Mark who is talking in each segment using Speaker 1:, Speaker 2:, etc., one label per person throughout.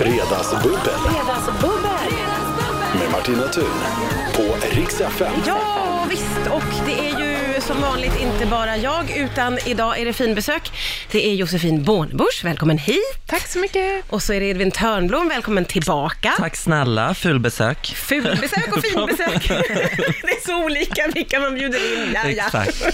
Speaker 1: Fredagsbubbel
Speaker 2: Fredagsbubbel!
Speaker 1: med Martina Thun på Rix FM.
Speaker 2: Ja, visst. Och det är ju som vanligt inte bara jag, utan idag är det finbesök. Det är Josefin Bornebusch, välkommen hit.
Speaker 3: Tack så mycket.
Speaker 2: Och så är det Edvin Törnblom, välkommen tillbaka.
Speaker 4: Tack snälla, fulbesök.
Speaker 2: Fulbesök och finbesök. det är så olika vilka man bjuder in. Ja, ja.
Speaker 4: Exakt.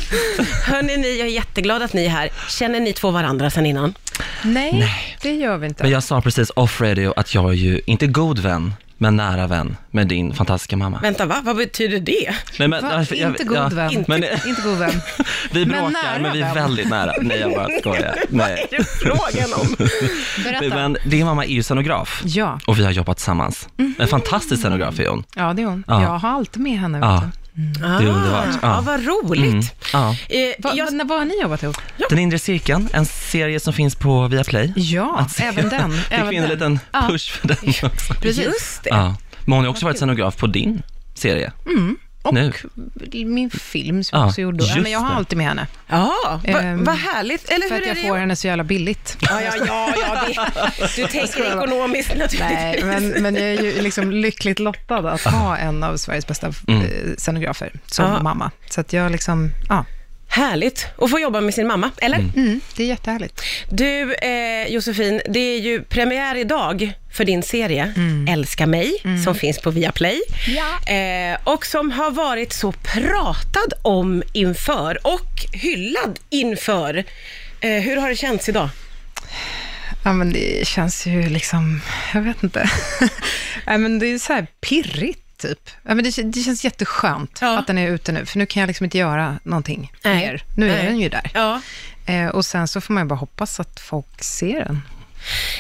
Speaker 2: Hörni, ni, jag är jätteglad att ni är här. Känner ni två varandra sedan innan?
Speaker 3: Nej, det gör vi inte.
Speaker 4: Men jag sa precis off radio att jag är ju, inte god vän, men nära vän med din fantastiska mamma.
Speaker 2: Vänta, va? Vad betyder det?
Speaker 4: Nej, men,
Speaker 3: Va?
Speaker 4: alltså, jag-
Speaker 3: inte god
Speaker 4: ja,
Speaker 3: vän.
Speaker 4: Men,
Speaker 3: Inte god vän.
Speaker 4: vi
Speaker 3: Men
Speaker 4: bråkar,
Speaker 3: nära
Speaker 4: men, vi
Speaker 3: vän.
Speaker 4: är väldigt nära. Nej, jag bara skojar. Nej.
Speaker 2: Det är frågan om.
Speaker 3: Berätta.
Speaker 4: Men din mamma är ju scenograf.
Speaker 3: Ja. Mhm.
Speaker 4: Och vi har jobbat tillsammans. En fantastisk scenograf är hon.
Speaker 3: Ja, det är hon.
Speaker 4: Ja.
Speaker 3: Jag har allt med henne. Vet
Speaker 4: Ja.
Speaker 3: du.
Speaker 2: Ah,
Speaker 4: underbart. Ja. Mm.
Speaker 2: Ja, vad roligt.
Speaker 4: ja.
Speaker 2: Eh,
Speaker 3: Va,
Speaker 2: jag-
Speaker 3: va, när- vad har ni jobbat ihop?
Speaker 4: Den inre cirkeln, en serie som finns på Viaplay.
Speaker 3: Ja,
Speaker 4: Att se.
Speaker 3: även den.
Speaker 4: Fick
Speaker 3: även
Speaker 4: vi in en liten
Speaker 3: Ja.
Speaker 4: push för den också.
Speaker 3: Precis.
Speaker 2: Just det.
Speaker 4: Ja. Men hon har också varit scenograf på din serie.
Speaker 3: Och
Speaker 4: Nu.
Speaker 3: min film som
Speaker 4: Ja,
Speaker 3: jag också gjorde. Ja,
Speaker 4: just
Speaker 3: men jag har
Speaker 4: det.
Speaker 3: alltid med henne.
Speaker 2: Ja, va,
Speaker 3: Ehm,
Speaker 2: vad härligt. Eller
Speaker 3: För
Speaker 2: hur är
Speaker 3: att jag
Speaker 2: det?
Speaker 3: får henne så jävla billigt.
Speaker 2: Ja, ja, ja, ja det, du tänker ekonomiskt naturligtvis.
Speaker 3: Nej, men, men jag är ju liksom lyckligt lottad att ha en av Sveriges bästa mm. scenografer som
Speaker 2: Ja.
Speaker 3: mamma. Så att jag liksom, ja.
Speaker 2: Härligt att få jobba med sin mamma, eller?
Speaker 3: Mm, det är jättehärligt.
Speaker 2: Du, eh, Josefin, det är ju premiär idag för din serie Älska mig, som finns på Viaplay.
Speaker 3: Mm. Ja.
Speaker 2: Eh, och som har varit så pratad om inför och hyllad inför. Eh, hur har det känts idag?
Speaker 3: Ja, men det känns ju liksom, jag vet inte. Nej, men det är så här pirrigt, typ. Ja, men det, det känns jätteskönt
Speaker 2: Ja.
Speaker 3: att den är ute nu, för nu kan jag liksom inte göra någonting
Speaker 2: Nej.
Speaker 3: mer. Nu är
Speaker 2: Nej.
Speaker 3: den ju där.
Speaker 2: Ja.
Speaker 3: Eh, och sen så får man ju bara hoppas att folk ser den.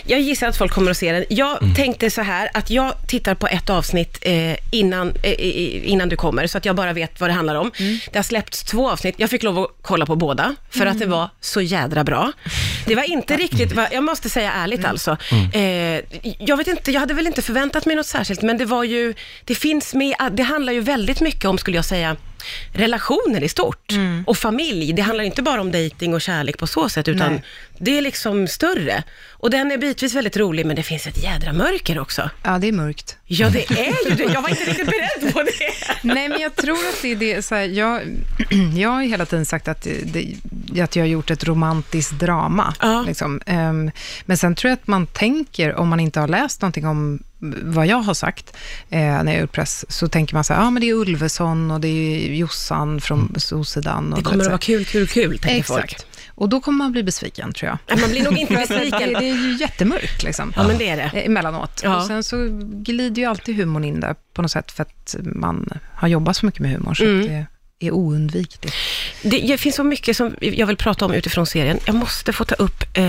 Speaker 2: Jag gissar att folk kommer att se den. Jag tänkte så här, att jag tittar på ett avsnitt eh, innan, eh, i- innan du kommer, så att jag bara vet vad det handlar om. Det har släppts två avsnitt. Jag fick lov att kolla på båda, för att det var så jädra bra. Det var inte riktigt, vad- jag måste säga ärligt alltså. Eh, jag vet inte, jag hade väl inte förväntat mig något särskilt, men det var ju, det finns med, det handlar ju väldigt mycket om, skulle jag säga, relationer i stort och familj. Det handlar inte bara om dating och kärlek på så sätt, utan
Speaker 3: Nej.
Speaker 2: det är liksom större. Och den är bitvis väldigt rolig, men det finns ett jädra mörker också.
Speaker 3: Ja, det är mörkt.
Speaker 2: Ja, det är ju det. Jag var inte riktigt beredd på det.
Speaker 3: Nej, men jag tror att det är det. Så här, jag, jag har ju hela tiden sagt att, det, att jag har gjort ett romantiskt drama.
Speaker 2: Ja.
Speaker 3: Liksom. Ehm, men sen tror jag att man tänker, om man inte har läst någonting om vad jag har sagt eh, när jag har gjort press, så tänker man så här, ja ah, men det är Ulveson och det är Jossan från Solsidan. och
Speaker 2: Det
Speaker 3: du
Speaker 2: kommer
Speaker 3: vet
Speaker 2: att
Speaker 3: så här.
Speaker 2: vara kul, kul, kul, tänker folk.
Speaker 3: Exakt. Och då kommer man bli besviken, tror jag.
Speaker 2: Ja, Man blir nog inte
Speaker 3: Det,
Speaker 2: besviken.
Speaker 3: det är ju jättemörkt liksom.
Speaker 2: Ja, men det är det.
Speaker 3: Eh, emellanåt.
Speaker 2: Ja.
Speaker 3: Och sen så glider ju alltid humorn in där på något sätt, för att man har jobbat så mycket med humor, så att det är oundvikligt.
Speaker 2: Det, det finns så mycket som jag vill prata om utifrån serien. Jag måste få ta upp eh,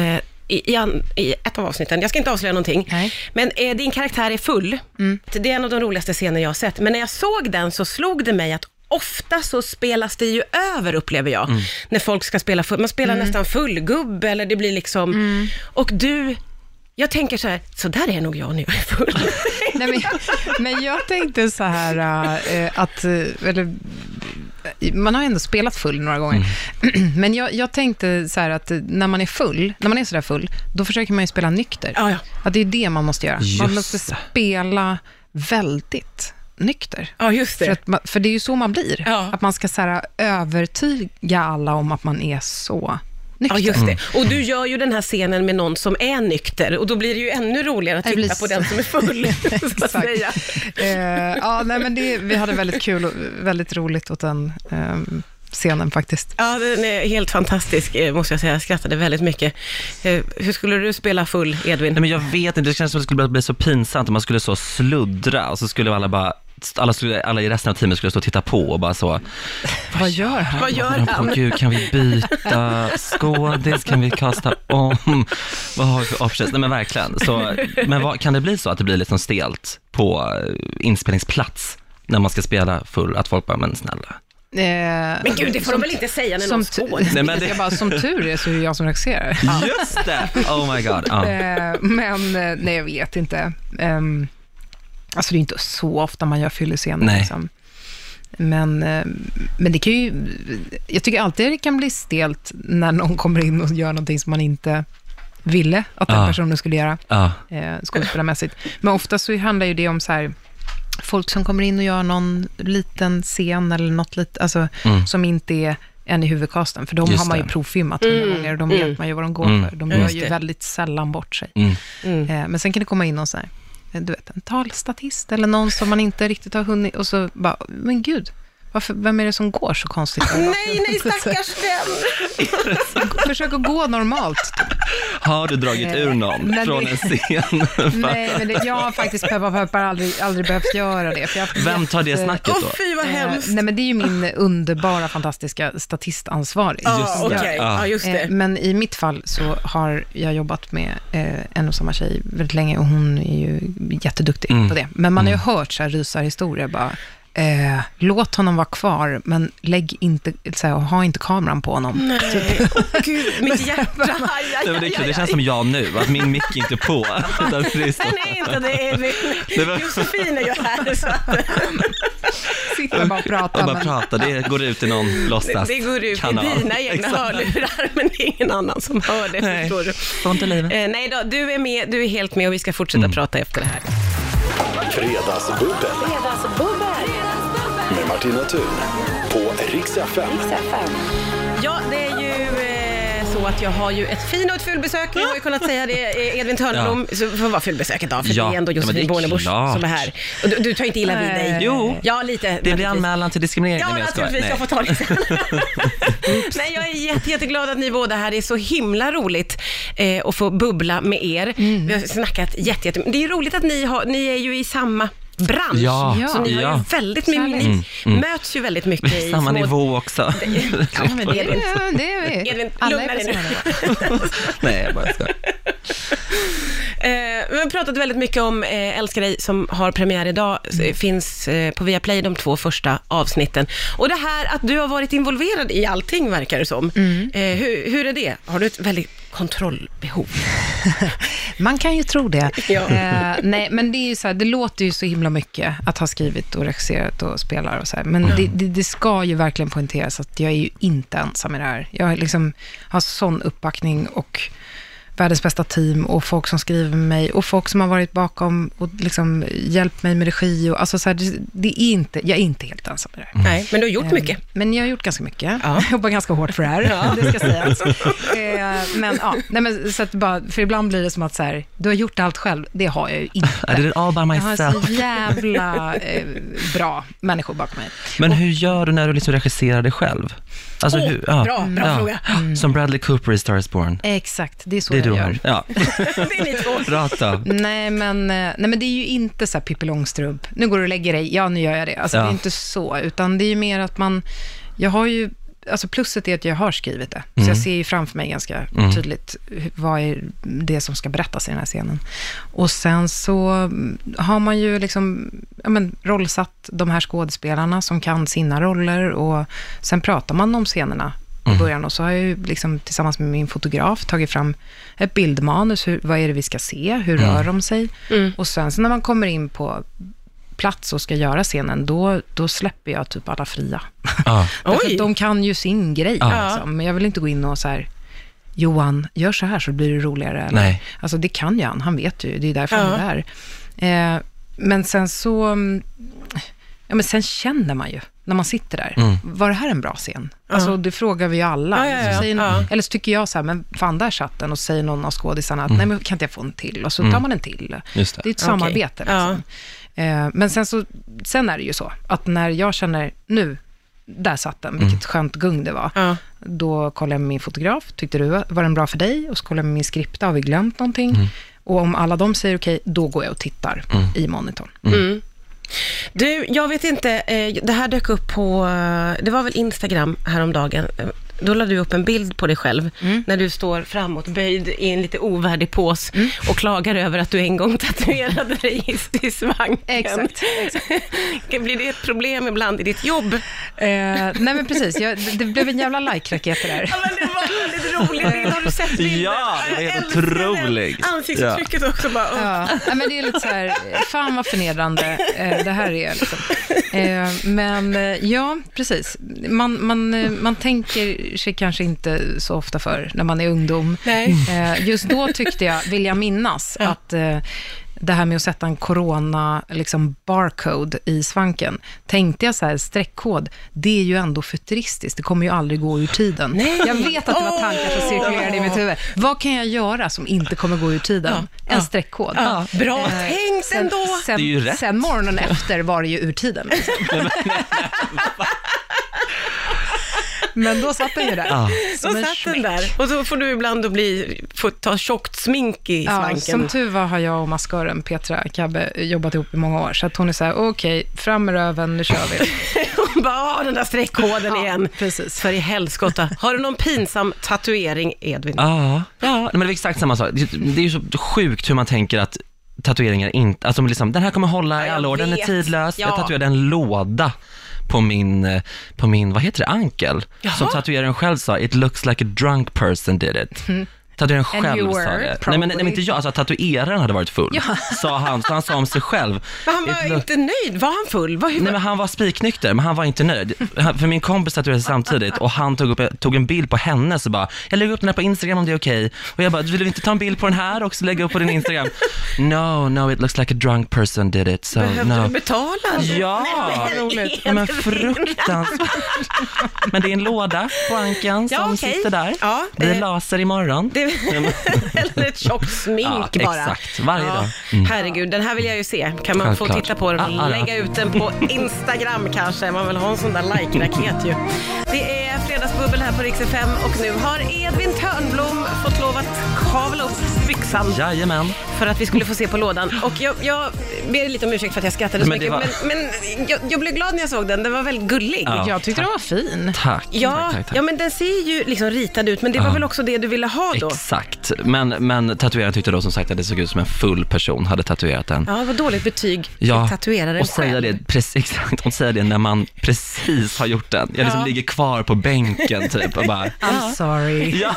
Speaker 2: i, i, an, i ett av avsnitten, jag ska inte avslöja någonting,
Speaker 3: Nej. Mm.
Speaker 2: men eh, din karaktär är full. Det är en av de roligaste scener jag har sett, men när jag såg den så slog det mig att Ofta så spelas det ju över, upplever jag, när folk ska spela full. Man spelar
Speaker 3: Mm.
Speaker 2: nästan fullgubbe eller det blir liksom... Och du, jag tänker så här, så där är nog jag när jag är full.
Speaker 3: Nej, men, men jag tänkte så här äh, eh, att, eh, eller, man har ju ändå spelat full några gånger, men jag, jag tänkte så här att eh, när man är full, när man är så där full, då försöker man ju spela nykter.
Speaker 2: Ja, ja.
Speaker 3: Att det är det man måste göra. man
Speaker 4: Just
Speaker 3: måste
Speaker 4: det.
Speaker 3: spela väldigt nykter.
Speaker 2: ja, just
Speaker 3: För, att man, för det är ju så man blir.
Speaker 2: Ja.
Speaker 3: Att man ska så här, övertyga alla om att man är så nykter.
Speaker 2: Ja, just det.
Speaker 4: Mm.
Speaker 2: Och du gör ju den här scenen med någon som är nykter och då blir det ju ännu roligare att
Speaker 3: Det blir
Speaker 2: titta på
Speaker 3: så-
Speaker 2: den som är full. så att
Speaker 3: Exakt.
Speaker 2: säga.
Speaker 3: Eh, ja, nej, men det, vi hade väldigt kul och väldigt roligt åt den ehm, scenen faktiskt.
Speaker 2: Ja, den är helt fantastisk eh, måste jag säga. Jag skrattade väldigt mycket. Eh, Hur skulle du spela full, Edvin?
Speaker 4: Nej, men jag vet inte, det känns som att det skulle bli så pinsamt om man skulle så sluddra och så skulle alla bara alla, skulle, alla i resten av teamet skulle stå och titta på och bara så,
Speaker 3: Vad gör han?
Speaker 2: Vad gör
Speaker 4: "Åh,
Speaker 2: han?
Speaker 4: gud, kan vi byta skådis, kan vi kasta om, vad har vi för options? Nej men verkligen, så, men vad, kan det bli så att det blir liksom stelt på eh, inspelningsplats när man ska spela full, att folk bara, men snälla.
Speaker 2: Men gud, det får de väl inte säga när någon
Speaker 3: Eh, som, tu-
Speaker 2: skådis?
Speaker 4: Nej, men det-
Speaker 3: jag bara, som tur är så är det jag som regisserar.
Speaker 4: Just det! Oh my god. Ja.
Speaker 3: Eh, men eh, nej, jag vet inte. Ehm, alltså det är inte så ofta man gör fyllescener.
Speaker 4: Nej.
Speaker 3: Liksom. Men, eh, men det kan ju, jag tycker alltid det kan bli stelt när någon kommer in och gör någonting som man inte ville att den
Speaker 4: Ja.
Speaker 3: personen skulle göra
Speaker 4: Ja.
Speaker 3: eh, skådespelarmässigt. Men ofta så handlar ju det om så här, folk som kommer in och gör någon liten scen eller något litet, alltså, som inte är en i huvudcasten, för de
Speaker 4: Mm. Just
Speaker 3: har man ju
Speaker 4: det.
Speaker 3: provfilmat hundra gånger och de vet man ju vad de går för. De gör
Speaker 2: Just
Speaker 3: ju
Speaker 2: det.
Speaker 3: väldigt sällan bort sig.
Speaker 4: Mm.
Speaker 3: Eh, men sen kan det komma in någon så här, eh, du vet, en talstatist eller någon som man inte riktigt har hunnit, och så bara, men gud, varför, vem är det som går så konstigt?
Speaker 2: Nej, nej, stackars den.
Speaker 3: Försök att gå normalt.
Speaker 4: Har du dragit ur någon
Speaker 3: Nej,
Speaker 4: från
Speaker 3: det-
Speaker 4: en scen?
Speaker 3: Nej, men det, jag har faktiskt Peppa Peppar aldrig, aldrig behövt göra det. För jag har haft
Speaker 4: Vem tar det
Speaker 3: jätte-
Speaker 4: snacket
Speaker 2: Åh
Speaker 4: då?
Speaker 2: fy vad
Speaker 3: Eh,
Speaker 2: hemskt.
Speaker 3: Nej, men det är ju min underbara, fantastiska statistansvarig.
Speaker 2: Ja,
Speaker 4: just det.
Speaker 2: Ah, okej.
Speaker 4: Ja.
Speaker 2: Ja, just
Speaker 3: Eh,
Speaker 2: det.
Speaker 3: Men i mitt fall så har jag jobbat med eh, en och samma tjej väldigt länge och hon är ju jätteduktig på det. Men man har ju hört så här rysarhistorier bara. Eh, låt honom vara kvar, men lägg inte, så här, ha inte kameran på honom.
Speaker 2: Nej, åh gud, mitt hjärta. Aj, aj,
Speaker 4: Nej, men det, är
Speaker 2: aj,
Speaker 4: klart,
Speaker 2: aj,
Speaker 4: det känns
Speaker 2: aj.
Speaker 4: som jag nu, att min mick inte är på. Utan precis då.
Speaker 2: Nej, nej, inte det. Är,
Speaker 4: Det var-
Speaker 2: Josefin är ju här, så att
Speaker 3: Sitta bara och prata.
Speaker 4: Och bara
Speaker 3: men-
Speaker 4: prata, det går ut i någon
Speaker 2: det,
Speaker 4: låtsas
Speaker 2: det går ut i
Speaker 4: kanal.
Speaker 2: dina egna
Speaker 4: Exakt.
Speaker 2: hörlurar, men det är ingen annan som hör det,
Speaker 4: Nej.
Speaker 2: förstår du.
Speaker 4: Sånt är livet.
Speaker 2: Eh, nej då, du är med, du är helt med och vi ska
Speaker 4: Mm.
Speaker 2: fortsätta prata efter det här.
Speaker 1: Fredagsbubbel med Martina Thun på Rix FM.
Speaker 2: Ja, det är ju eh, så att jag har ju ett fint och ett fullbesök. Jag har ju kunnat säga det, eh, Edvin Törnblom, så får vara fullbesöket då, för
Speaker 4: Ja,
Speaker 2: det är ändå
Speaker 4: ja, men
Speaker 2: Josefin
Speaker 4: det är
Speaker 2: Bornebusch
Speaker 4: klart.
Speaker 2: som är här. Och du, du tar inte illa vid dig?
Speaker 4: Nej. Jo.
Speaker 2: Ja, lite.
Speaker 4: Det blir
Speaker 2: naturligtvis.
Speaker 4: anmälan till diskriminering.
Speaker 2: Ja,
Speaker 4: Nej, men jag
Speaker 2: naturligtvis.
Speaker 4: skojar.
Speaker 2: Jag får
Speaker 4: Nej.
Speaker 2: ta det sen. Nej, jag är jätte, jätteglad att ni båda är här. Det är så himla roligt eh, att få bubbla med er. Vi har snackat jätte, jätte, Det är roligt att ni, har, ni är ju i samma bransch.
Speaker 4: Ja,
Speaker 2: Så ni har ju
Speaker 4: ja. Mm.
Speaker 2: väldigt, ni, ni möts ju väldigt mycket i
Speaker 4: Samma
Speaker 2: små...
Speaker 4: nivå också.
Speaker 2: Ja, men det är det.
Speaker 3: Ja, det är vi.
Speaker 2: Edvin,
Speaker 3: Alla
Speaker 2: lugna
Speaker 3: är
Speaker 2: dig
Speaker 3: på
Speaker 2: nu.
Speaker 3: samma nivå.
Speaker 4: Nej, jag bara skojar.
Speaker 2: Eh, vi har pratat väldigt mycket om eh, Älskar dig som har premiär idag, s- finns eh, på Viaplay de två första avsnitten. Och det här att du har varit involverad i allting verkar det som. Eh, hur, hur är det? Har du ett väldigt kontrollbehov?
Speaker 3: Man kan ju tro det.
Speaker 2: Ja.
Speaker 3: Eh, nej, men det, är ju så här, det låter ju så himla mycket att ha skrivit och regisserat och spelar och så här. Men det, det, det ska ju verkligen poängteras att jag är ju inte ensam i det här. Jag är liksom, har sån uppbackning och världens bästa team och folk som skriver med mig och folk som har varit bakom och liksom hjälpt mig med regi. Och, alltså så här, det, det är inte, jag är inte helt ensam i det här.
Speaker 2: Nej, men du har gjort
Speaker 3: Ehm.
Speaker 2: mycket.
Speaker 3: Mm. Men jag har gjort ganska mycket. Jag jobbar ganska hårt för det här, det ska sägas. eh, men ja, nej, men, så att bara, för ibland blir det som att så här, du har gjort allt själv. Det har jag ju
Speaker 4: I did
Speaker 3: inte.
Speaker 4: it all by
Speaker 3: Jag har så
Speaker 4: myself.
Speaker 3: jävla eh, bra människor bakom mig.
Speaker 4: Men hur gör du när du liksom regisserar dig själv? Alltså,
Speaker 2: Åh,
Speaker 4: hur,
Speaker 2: bra, bra fråga.
Speaker 4: Som Bradley Cooper i Star is Born.
Speaker 3: Exakt, det är så
Speaker 4: Det är
Speaker 3: jag
Speaker 4: du
Speaker 3: gör.
Speaker 4: har. Ja,
Speaker 2: Det är ni två.
Speaker 4: rakt av.
Speaker 3: Nej men, eh, nej, men det är ju inte så här Pippi Långstrump. Nu går du och lägger dig. Ja, nu gör jag det. Alltså,
Speaker 4: Ja.
Speaker 3: Det är inte så, utan det är ju mer att man... Jag har ju... Alltså plusset är att jag har skrivit det. Så jag ser ju framför mig ganska tydligt hur- vad är det som ska berättas i den här scenen. Och sen så mm, har man ju liksom ja, men, rollsatt de här skådespelarna som kan sina roller och sen pratar man om scenerna i början. Och så har jag ju liksom, tillsammans med min fotograf tagit fram ett bildmanus. Hur, vad är det vi ska se? Hur rör de sig? Och sen så när man kommer in på plats och ska göra scenen, då, då släpper jag typ alla fria.
Speaker 4: Ja.
Speaker 2: Oj!
Speaker 3: Därför att de kan ju sin grej.
Speaker 4: Ja.
Speaker 3: Liksom. Men jag vill inte gå in och så här, Johan, gör så här så blir det roligare. Eller,
Speaker 4: Nej.
Speaker 3: Alltså det kan ju han, han vet ju, det är därför
Speaker 2: Ja.
Speaker 3: han är där. Eh, men sen så, mm, ja men sen känner man ju när man sitter där,
Speaker 4: Mm.
Speaker 3: var det här en bra scen? Alltså det frågar vi ju alla.
Speaker 2: Ja, ja,
Speaker 3: Så
Speaker 2: ja.
Speaker 3: säger,
Speaker 2: Ja.
Speaker 3: Eller så tycker jag så här, men fan där satt den och säger någon av skådisarna att nej men kan inte jag få en till? Och så tar man en till.
Speaker 4: Mm. Just det.
Speaker 3: är ett samarbete.
Speaker 2: Okej. Ja.
Speaker 3: Liksom. Eh, Men sen, så, sen är det ju så att när jag känner nu, där satt den, vilket skönt gung det var.
Speaker 2: Ja.
Speaker 3: Då kollar jag med min fotograf, tyckte du var den bra för dig? Och så kollar jag med min skripta, har vi glömt någonting? Och om alla de säger okej, då går jag och tittar i monitorn.
Speaker 2: Du, jag vet inte, eh, det här dök upp på, eh, det var väl Instagram häromdagen. Eh, Då la du upp en bild på dig själv, när du står framåtböjd i en lite ovärdig pås och klagar över att du en gång tatuerade dig i- i svanken.
Speaker 3: Exakt,
Speaker 2: Blir det ett problem ibland i ditt jobb?
Speaker 3: Eh, nej men precis, jag, det, det blev en jävla like-raket det där.
Speaker 2: Ja, men det var en väldigt rolig bild. Har du sett bilden?
Speaker 4: Ja, den var
Speaker 2: Jag
Speaker 4: helt
Speaker 2: älskar den.
Speaker 4: otrolig.
Speaker 2: Ansiktsuttrycket också bara. åh.
Speaker 3: Ja, nej, men det är lite så här, fan vad förnedrande eh, det här är. Liksom. Eh, men eh, ja, precis. Man, man, eh, man tänker sig kanske inte så ofta för när man är ungdom.
Speaker 2: Nej.
Speaker 3: Eh, just då tyckte jag, vill jag minnas, att eh, det här med att sätta en corona, liksom barcode i svanken, tänkte jag så här, streckkod, det är ju ändå futuristiskt, det kommer ju aldrig gå ur tiden.
Speaker 2: Nej.
Speaker 3: Jag vet att det var tankar som cirkulerade i mitt huvud. Vad kan jag göra som inte kommer gå ur tiden?
Speaker 2: Ja.
Speaker 3: En streckkod.
Speaker 2: Ja, bra
Speaker 3: Eh,
Speaker 2: tänkt
Speaker 3: sen,
Speaker 2: ändå.
Speaker 3: Sen,
Speaker 4: Det är ju rätt.
Speaker 3: sen morgonen efter var det ju ur tiden. liksom. Men då satt den ju där.
Speaker 4: Ja.
Speaker 2: Så
Speaker 3: en
Speaker 2: satt den där. Och så får du ibland då bli, få ta tjockt smink i
Speaker 3: Ja,
Speaker 2: svanken.
Speaker 3: som tur var har jag och massören Petra Kabbe jobbat ihop i många år, så att hon är så här, okej, fram med röven, nu kör vi.
Speaker 2: Hon bara, "Ah, den där streckkoden
Speaker 3: Ja,
Speaker 2: igen.
Speaker 3: precis.
Speaker 2: För i helskotta. Har du någon pinsam tatuering, Edvin?
Speaker 4: Ja, ja. Nej, men det är exakt samma sak. Det det är ju så sjukt hur man tänker att tatueringar inte, alltså liksom, den här kommer hålla i
Speaker 2: jag
Speaker 4: alla år, den är
Speaker 2: vet.
Speaker 4: tidlös.
Speaker 2: Ja.
Speaker 4: Jag tatuerade en låda på min, eh, på min, vad heter det, ankel?
Speaker 2: Jaha.
Speaker 4: Som tatueraren själv sa, it looks like a drunk person did it.
Speaker 2: Mm.
Speaker 4: Tatueraren
Speaker 3: And
Speaker 4: själv
Speaker 3: you
Speaker 4: sa
Speaker 3: were,
Speaker 4: det. Nej men, nej men
Speaker 3: probably.
Speaker 4: inte jag, alltså att tatueraren hade varit full, sa han. Så han sa om sig själv.
Speaker 2: Men han
Speaker 4: "It
Speaker 2: var
Speaker 4: look-
Speaker 2: inte nöjd. Var han full? Var,
Speaker 4: Nej men han var spiknykter, men han var inte nöjd. Han- För min kompis tatuerade sig samtidigt och han tog, upp, tog en bild på henne så bara, jag lägger upp den här på Instagram om det är okej. Och jag bara, vill du inte ta en bild på den här också och lägga upp på din Instagram? No, no, it looks like a drunk person did it, so
Speaker 2: Behövde
Speaker 4: no.
Speaker 2: du betala?
Speaker 4: Ja,
Speaker 2: roligt.
Speaker 4: men fruktansvärt. Men det är en låda på ankan
Speaker 2: Ja,
Speaker 4: som
Speaker 2: okej.
Speaker 4: sitter där.
Speaker 2: Ja,
Speaker 4: det är
Speaker 2: eh,
Speaker 4: laser imorgon.
Speaker 2: Det, eller ett tjockt smink
Speaker 4: Ja,
Speaker 2: bara.
Speaker 4: exakt. Varje dag. Mm.
Speaker 2: Herregud, den här vill jag ju se. Kan man få
Speaker 4: Självklart.
Speaker 2: titta på den?
Speaker 4: Ah, ah, ja.
Speaker 2: Lägga ut den på Instagram kanske. Man vill ha en sån där like-raket ju. Det är Fredagsbubbel här på Rix FM och nu har Edvin Törnblom fått lov att kavla upp byxan
Speaker 4: Jajamän.
Speaker 2: för att vi skulle få se på lådan. Och jag, jag ber lite om ursäkt för att jag skrattade så
Speaker 4: Men det
Speaker 2: mycket,
Speaker 4: var-
Speaker 2: men, men jag, jag blev glad när jag såg den. Den var väldigt gullig.
Speaker 4: Ja.
Speaker 3: jag tyckte den var fin.
Speaker 4: Tack.
Speaker 2: Ja,
Speaker 4: tack, tack, tack.
Speaker 2: ja, men den ser ju liksom ritad ut, men det var väl också det du ville ha då?
Speaker 4: Exakt, men, men tatueraren tyckte då som sagt att det såg ut som en full person hade tatuerat den.
Speaker 2: Ja, vad dåligt betyg till tatueraren
Speaker 4: och säga
Speaker 2: själv.
Speaker 4: det, precis, exakt, hon säger det när man precis har gjort den. Jag liksom ligger kvar på bänken typ och bara,
Speaker 3: I'm sorry.
Speaker 4: ja,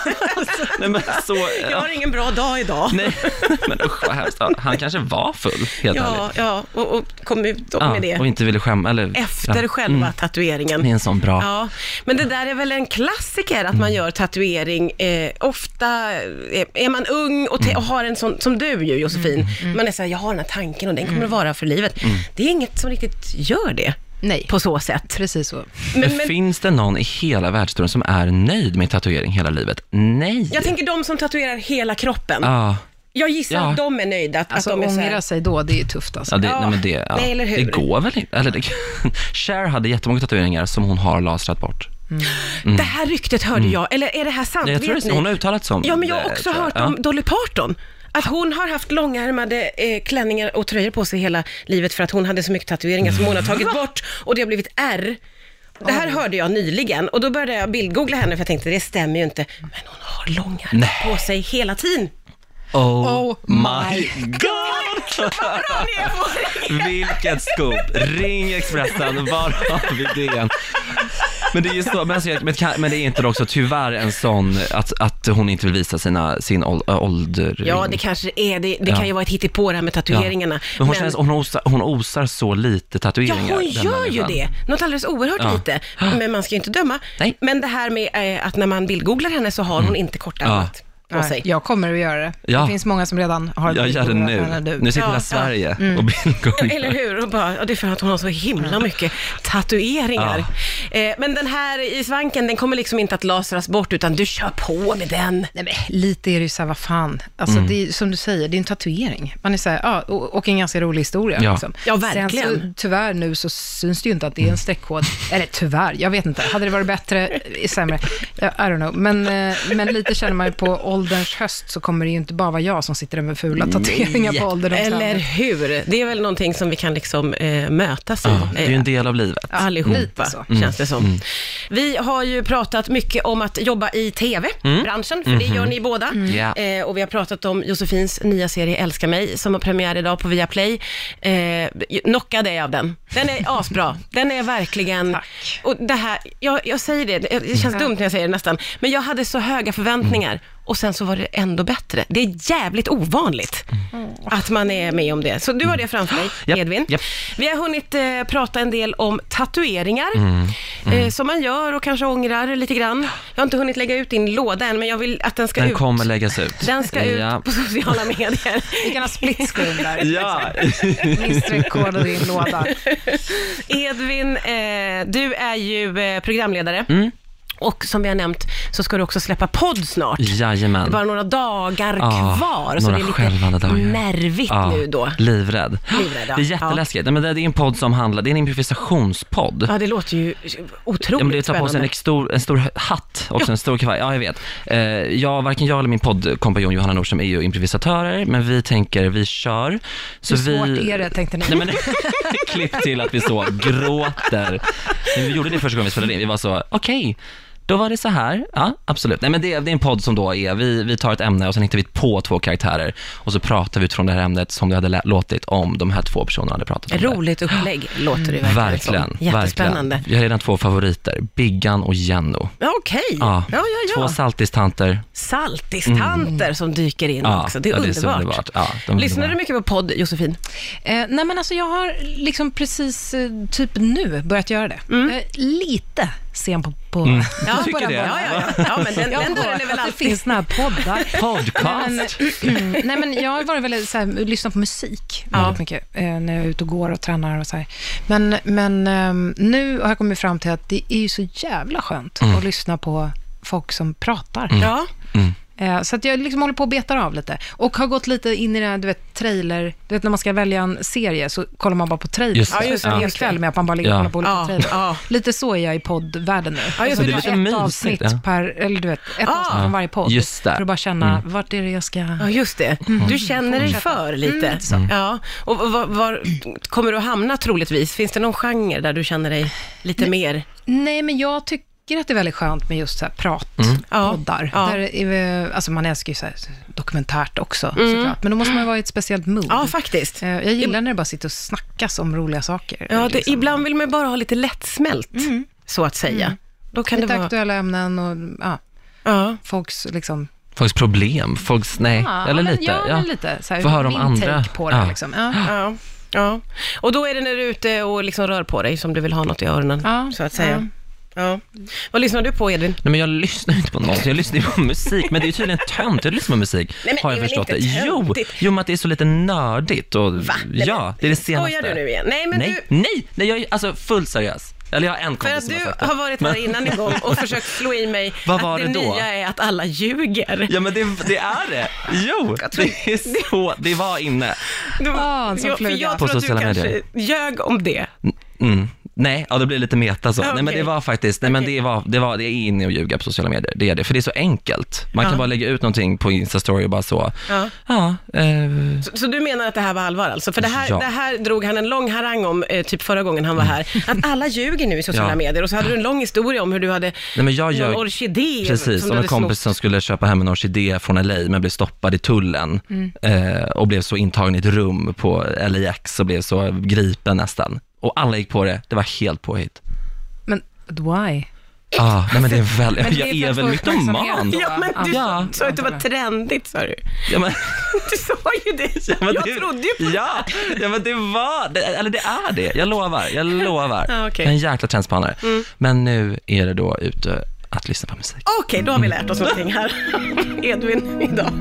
Speaker 4: nej men så,
Speaker 2: Jag
Speaker 4: ja,
Speaker 2: har ingen bra dag idag.
Speaker 4: nej, men usch vad hemskt. Ja, Han kanske var full, helt
Speaker 2: Ja,
Speaker 4: ärligt.
Speaker 2: ja och, och kom ut
Speaker 4: Ja,
Speaker 2: med
Speaker 4: Och
Speaker 2: det
Speaker 4: inte ville skämma, eller?
Speaker 2: efter
Speaker 4: ja. Mm.
Speaker 2: själva
Speaker 4: Det är
Speaker 2: tatueringen.
Speaker 4: en sån bra.
Speaker 2: Ja, men det där är väl en klassiker att
Speaker 4: Mm.
Speaker 2: man gör tatuering. Eh, ofta eh, är man ung och, te-
Speaker 4: Mm.
Speaker 2: och har en sån, som du ju Josefin, man är såhär, jag har den här tanken och den
Speaker 4: Mm.
Speaker 2: kommer att vara för livet. Det är inget som riktigt gör det
Speaker 3: Nej,
Speaker 2: på så sätt.
Speaker 3: precis så.
Speaker 2: Men,
Speaker 4: men,
Speaker 2: men
Speaker 4: finns det någon i hela världshistorien som är nöjd med tatuering hela livet? Nej!
Speaker 2: jag tänker de som tatuerar hela kroppen.
Speaker 4: ja,
Speaker 2: Jag gissar
Speaker 4: Ja.
Speaker 2: att de är nöjda. Att,
Speaker 3: Alltså
Speaker 2: att de är så här-
Speaker 3: ångra sig då, det är tufft alltså.
Speaker 4: ja, det,
Speaker 2: Ja.
Speaker 4: Nej, men det, ja.
Speaker 2: Nej, eller hur?
Speaker 4: det går väl inte? Eller det, Cher hade jättemånga tatueringar som hon har lasrat bort.
Speaker 2: Det här ryktet hörde jag, eller är det här sant?
Speaker 4: Mm. Nej, jag tror
Speaker 2: Vet
Speaker 4: det,
Speaker 2: ni?
Speaker 4: hon har uttalat sig om
Speaker 2: Ja, men jag
Speaker 4: det,
Speaker 2: har också
Speaker 4: tror jag.
Speaker 2: hört
Speaker 4: Ja.
Speaker 2: om Dolly Parton. Att hon har haft långärmade eh, klänningar och tröjor på sig hela livet för att hon hade så mycket tatueringar som hon har
Speaker 4: Mm.
Speaker 2: tagit bort och det har blivit R. Det här hörde jag nyligen och då började jag bildgoogla henne för jag tänkte det stämmer ju inte. Men hon har långärmat
Speaker 4: Nej.
Speaker 2: på sig hela tiden.
Speaker 4: Oh,
Speaker 3: Oh
Speaker 4: my god! Vilket scoop! Ring Expressen, var har vi det? Men det är ju så, men, alltså, jag- men, kan- men det är inte då också tyvärr en sån att, att hon inte vill visa sina, sin ål- äh, ålder?
Speaker 2: Ja, det kanske det är. Det, det
Speaker 4: Ja.
Speaker 2: kan ju vara ett hittepå det här med
Speaker 4: Ja.
Speaker 2: tatueringarna.
Speaker 4: Men hon, Känns, hon, osar, hon osar så lite
Speaker 2: Ja,
Speaker 4: tatueringar.
Speaker 2: hon
Speaker 4: den
Speaker 2: gör ju
Speaker 4: människan.
Speaker 2: det. Något alldeles oerhört
Speaker 4: Ja.
Speaker 2: lite. Men man ska ju inte döma.
Speaker 4: Nej. Mm.
Speaker 2: Men det här med eh, att när man bildgooglar henne så har hon inte kortärmat på
Speaker 3: Nej,
Speaker 2: sig.
Speaker 3: Jag kommer att göra det.
Speaker 4: Ja.
Speaker 3: Det finns många som redan har
Speaker 4: Jag gör det
Speaker 3: Redan
Speaker 4: nu.
Speaker 3: du.
Speaker 4: Nu sitter
Speaker 2: Ja,
Speaker 4: hela
Speaker 2: ja.
Speaker 4: Sverige och bildgooglar.
Speaker 2: Eller hur? Och bara, ja, det är för att hon har så himla mycket tatueringar. Eh, men den här i svanken, den kommer liksom inte att lasras bort, utan du kör på med den.
Speaker 3: Nej, men lite är det ju så här, vad fan. Alltså,
Speaker 4: Mm.
Speaker 3: det är, som du säger, det är en tatuering. Man är så här, ja, och, och en ganska rolig historia.
Speaker 4: Ja.
Speaker 3: liksom.
Speaker 2: Ja, verkligen.
Speaker 3: Sen så, tyvärr nu så syns det ju inte att det
Speaker 4: Mm.
Speaker 3: är en streckkod. Eller tyvärr, jag vet inte. Hade det varit bättre, eh, sämre? Ja, I don't know. Men, eh, men lite känner man ju på ålderns höst så kommer det ju inte bara vara jag som sitter där med fula tatueringar på ålderdomshemmet.
Speaker 2: Eller hur? Det är väl någonting som vi kan liksom eh, mötas i.
Speaker 4: Ja, det är ju
Speaker 2: Eh,
Speaker 4: en del av livet.
Speaker 2: Allihopa,
Speaker 3: Lite så.
Speaker 2: känns det som. Vi har ju pratat mycket om att jobba i TV-branschen, för det gör ni båda.
Speaker 4: Ja.
Speaker 2: Eh, och vi har pratat om Josefins nya serie Älska mig, som har premiär idag på Viaplay. Eh, knockad är jag av den. Den är asbra. Den är verkligen...
Speaker 3: Tack.
Speaker 2: Och det här, jag, jag säger det, det känns dumt när jag säger det nästan, men jag hade så höga förväntningar. och sen så var det ändå bättre. Det är jävligt ovanligt att man är med om det. Så du har det framför dig,
Speaker 4: Japp,
Speaker 2: Edvin.
Speaker 4: japp.
Speaker 2: Vi har hunnit eh, prata en del om tatueringar,
Speaker 4: Mm,
Speaker 2: Eh, som man gör och kanske ångrar lite grann. Jag har inte hunnit lägga ut din låda än, men jag vill att den ska
Speaker 4: Den
Speaker 2: ut.
Speaker 4: kommer läggas ut.
Speaker 2: Den ska
Speaker 4: ja.
Speaker 2: ut på sociala medier.
Speaker 3: Vi kan ha split screen där.
Speaker 4: Ja,
Speaker 3: Min streckkod och din låda.
Speaker 2: Edvin, eh, du är ju eh, programledare.
Speaker 4: Mm.
Speaker 2: Och som vi har nämnt så ska du också släppa podd snart. Det är
Speaker 4: jajamän.
Speaker 2: bara några dagar
Speaker 4: Ja,
Speaker 2: kvar, så det
Speaker 4: Ah, några
Speaker 2: är
Speaker 4: skälvande
Speaker 2: lite
Speaker 4: dagar. Ah.
Speaker 2: nervigt
Speaker 4: Ja,
Speaker 2: nu då.
Speaker 4: Livrädd.
Speaker 2: Livrädd, ja.
Speaker 4: Det är jätteläskigt. Nej, men det det är en podd som handlar, det är en improvisationspodd.
Speaker 2: Ja, det låter ju
Speaker 4: Ja, men det
Speaker 2: otroligt
Speaker 4: tar på sig en
Speaker 2: spännande.
Speaker 4: ex- stor, en stor hatt och en stor kavaj. Ja, jag vet. Eh, jag, varken jag eller min poddkompanjon Johanna Nordström är ju improvisatörer, men vi tänker, vi kör. Så
Speaker 3: Hur svårt är det, tänkte
Speaker 4: Nej,
Speaker 3: ni.
Speaker 4: men, klipp till att vi så gråter. Men vi gjorde det första gången vi spelade in. Vi var så, okej, då var det så här. Ja, absolut. Nej, men det, det är en podd som då är, vi, vi tar ett ämne och sen hittar vi på två karaktärer och så pratar vi utifrån det här ämnet som det hade lä- låtit om de här två personerna hade pratat om. det.
Speaker 2: Roligt upplägg låter det verkligen
Speaker 4: Verkligen.
Speaker 2: som.
Speaker 3: liksom.
Speaker 2: Jättespännande.
Speaker 4: Verkligen. Jag har redan två favoriter, Biggan och Jenno.
Speaker 2: Ja, Okej.
Speaker 4: Ja,
Speaker 2: Ja, ja,
Speaker 4: Två
Speaker 2: ja.
Speaker 4: saltistanter.
Speaker 2: Saltistanter som dyker in
Speaker 4: Ja,
Speaker 2: också. Det är
Speaker 4: ja, det är
Speaker 2: underbart.
Speaker 4: så underbart. Ja, de är
Speaker 2: Lyssnar
Speaker 4: underbara.
Speaker 2: du mycket på podd, Josefin?
Speaker 3: Eh, nej, men alltså jag har liksom precis, eh, typ nu, börjat göra det.
Speaker 2: Mm.
Speaker 3: Eh, lite sen på... på
Speaker 2: Ja,
Speaker 4: tycker
Speaker 2: bara-
Speaker 4: det?
Speaker 2: Ja, ja, ja. ja men den,
Speaker 3: Ja,
Speaker 2: den
Speaker 3: på
Speaker 2: dörren är väl
Speaker 3: att det
Speaker 2: alltid...
Speaker 3: finns såna här poddar.
Speaker 4: Podcast.
Speaker 3: Nej, men, nej, men jag har varit väldigt så här, lyssnat på musik väldigt mycket eh, när jag är ute och går och tränar och så här. Men, men ehm, nu har jag kommit fram till att det är ju så jävla skönt att lyssna på folk som pratar.
Speaker 4: Mm.
Speaker 2: Ja,
Speaker 3: Eh, Så att jag liksom håller på och betar av lite. Och har gått lite in i den här, du vet, trailer... Du vet, när man ska välja en serie så kollar man bara på trailer.
Speaker 4: Just det.
Speaker 3: Så
Speaker 4: Ja, just
Speaker 2: det,
Speaker 3: det.
Speaker 2: just det.
Speaker 3: kväll med att man bara ligger och
Speaker 4: Ja.
Speaker 3: kollar på olika
Speaker 2: Ja,
Speaker 3: trailer.
Speaker 2: ja.
Speaker 3: Lite så är jag i poddvärlden nu.
Speaker 2: Ja, just
Speaker 3: Så
Speaker 2: det.
Speaker 3: bara
Speaker 2: Det är
Speaker 4: lite
Speaker 3: ett avsnitt
Speaker 4: mysigt, ja.
Speaker 3: per... Eller du vet, ett
Speaker 2: Ah.
Speaker 3: avsnitt från varje podd.
Speaker 4: Just det. Mm.
Speaker 3: För att bara känna, vart är det jag ska...
Speaker 2: ja just det. Du känner dig för lite.
Speaker 4: Mm.
Speaker 2: Ja. Och och var, var kommer du att hamna troligtvis? Finns det någon genre där du känner dig lite mer...
Speaker 3: Nej, men jag tycker att det är väldigt skönt med just så här prat,
Speaker 4: Mm.
Speaker 2: Ja,
Speaker 3: poddar.
Speaker 2: ja.
Speaker 3: Där är, vi- alltså man älskar ju så här dokumentärt också, såklart. Men då måste man ju vara i ett speciellt mood.
Speaker 2: Ja, faktiskt.
Speaker 3: Eh, Jag gillar när det bara sitter och snackas om roliga saker.
Speaker 2: Ja, det,
Speaker 3: liksom.
Speaker 2: ibland vill man bara ha lite lättsmält, så att säga. Då kan Mm. det
Speaker 3: Lite
Speaker 2: vara...
Speaker 3: aktuella ämnen och ja,
Speaker 2: Ja.
Speaker 3: folks liksom...
Speaker 4: Folks problem, folks, nej, eller
Speaker 3: men-
Speaker 4: lite.
Speaker 3: Ja, men lite. Så här,
Speaker 4: Få höra om
Speaker 3: min
Speaker 4: andra.
Speaker 3: take på det
Speaker 4: Ja.
Speaker 3: liksom. Ja.
Speaker 2: Ja, ja. Och då är det när du är ute och liksom rör på dig som du vill ha något i öronen,
Speaker 3: Ja,
Speaker 2: så att säga. Ja. Vad lyssnar du på, Edvin?
Speaker 4: Nej men jag lyssnar ju inte på någonting, jag lyssnar ju på musik. Men det är ju tydligen tönt att lyssna på musik,
Speaker 2: Nej, men
Speaker 4: har
Speaker 2: det är
Speaker 4: jag
Speaker 2: väl
Speaker 4: förstått det.
Speaker 2: inte
Speaker 4: Jo,
Speaker 2: töntigt?
Speaker 4: jo, men att det är så lite nördigt och
Speaker 2: Nej,
Speaker 4: ja,
Speaker 2: men-
Speaker 4: det är det senaste.
Speaker 2: Skojar du nu igen? Nej, men
Speaker 4: nej,
Speaker 2: du...
Speaker 4: nej, nej, jag är alltså fullt seriös. Eller jag har en
Speaker 2: För
Speaker 4: kompis
Speaker 2: att
Speaker 4: som har
Speaker 2: du
Speaker 4: sagt det.
Speaker 2: har varit här innan en gång och försökt slå i mig
Speaker 4: Vad var
Speaker 2: att det,
Speaker 4: det då?
Speaker 2: nya är att alla ljuger.
Speaker 4: Ja men det, det är det. Jo, det är så, det var inne.
Speaker 2: Du,
Speaker 3: Ah, en sån
Speaker 2: jag, för
Speaker 3: fluga.
Speaker 2: jag
Speaker 4: På
Speaker 2: tror att du
Speaker 4: sociala
Speaker 2: kanske
Speaker 4: medier.
Speaker 2: ljög om det.
Speaker 4: Mm. Nej, ja, då blir det lite meta så.
Speaker 2: Ja,
Speaker 4: Nej, men
Speaker 2: okej.
Speaker 4: det var faktiskt, nej men
Speaker 2: Okej.
Speaker 4: det var, det var, det är inne och ljuga på sociala medier. Det är det, för det är så enkelt. Man kan bara lägga ut någonting på Insta-story och bara så,
Speaker 2: Ja.
Speaker 4: ja, eh,
Speaker 2: Så, så du menar att det här var allvar alltså? För det här,
Speaker 4: Ja. Mm.
Speaker 2: det här drog han en lång harang om, eh, typ förra gången han var här. Att alla ljuger nu i sociala
Speaker 4: Ja.
Speaker 2: medier. Och så hade du en lång historia om hur du hade
Speaker 4: nej men jag
Speaker 2: någon
Speaker 4: ljög.
Speaker 2: orkidé
Speaker 4: Precis,
Speaker 2: som
Speaker 4: om
Speaker 2: du
Speaker 4: en
Speaker 2: hade
Speaker 4: kompis som skulle köpa hem en orkidé från LA men blev stoppad i tullen
Speaker 2: Mm.
Speaker 4: eh, och blev så intagen i ett rum på LAX och blev så gripen nästan. Och alla gick på det, det var helt påhitt.
Speaker 3: Men why?
Speaker 4: Ah, nej men det är väl,
Speaker 3: Men det
Speaker 4: jag
Speaker 3: är för
Speaker 4: är
Speaker 3: att
Speaker 4: väl
Speaker 3: få uppmärksamhet
Speaker 4: mytoman.
Speaker 3: då.
Speaker 2: Ja, men du
Speaker 4: Ja.
Speaker 2: sa att det var trendigt, sa du.
Speaker 4: Ja, men,
Speaker 2: Du sa ju det.
Speaker 4: men
Speaker 2: jag
Speaker 4: det-
Speaker 2: trodde ju på det.
Speaker 4: ja, ja, men det var det, eller det är det. Jag lovar, jag lovar.
Speaker 2: Ja, okej. Mm.
Speaker 4: Jag är en jäkla trendspanare. Men nu är det då ute att lyssna på musik.
Speaker 2: Okej, då har vi lärt oss någonting här. Edvin idag.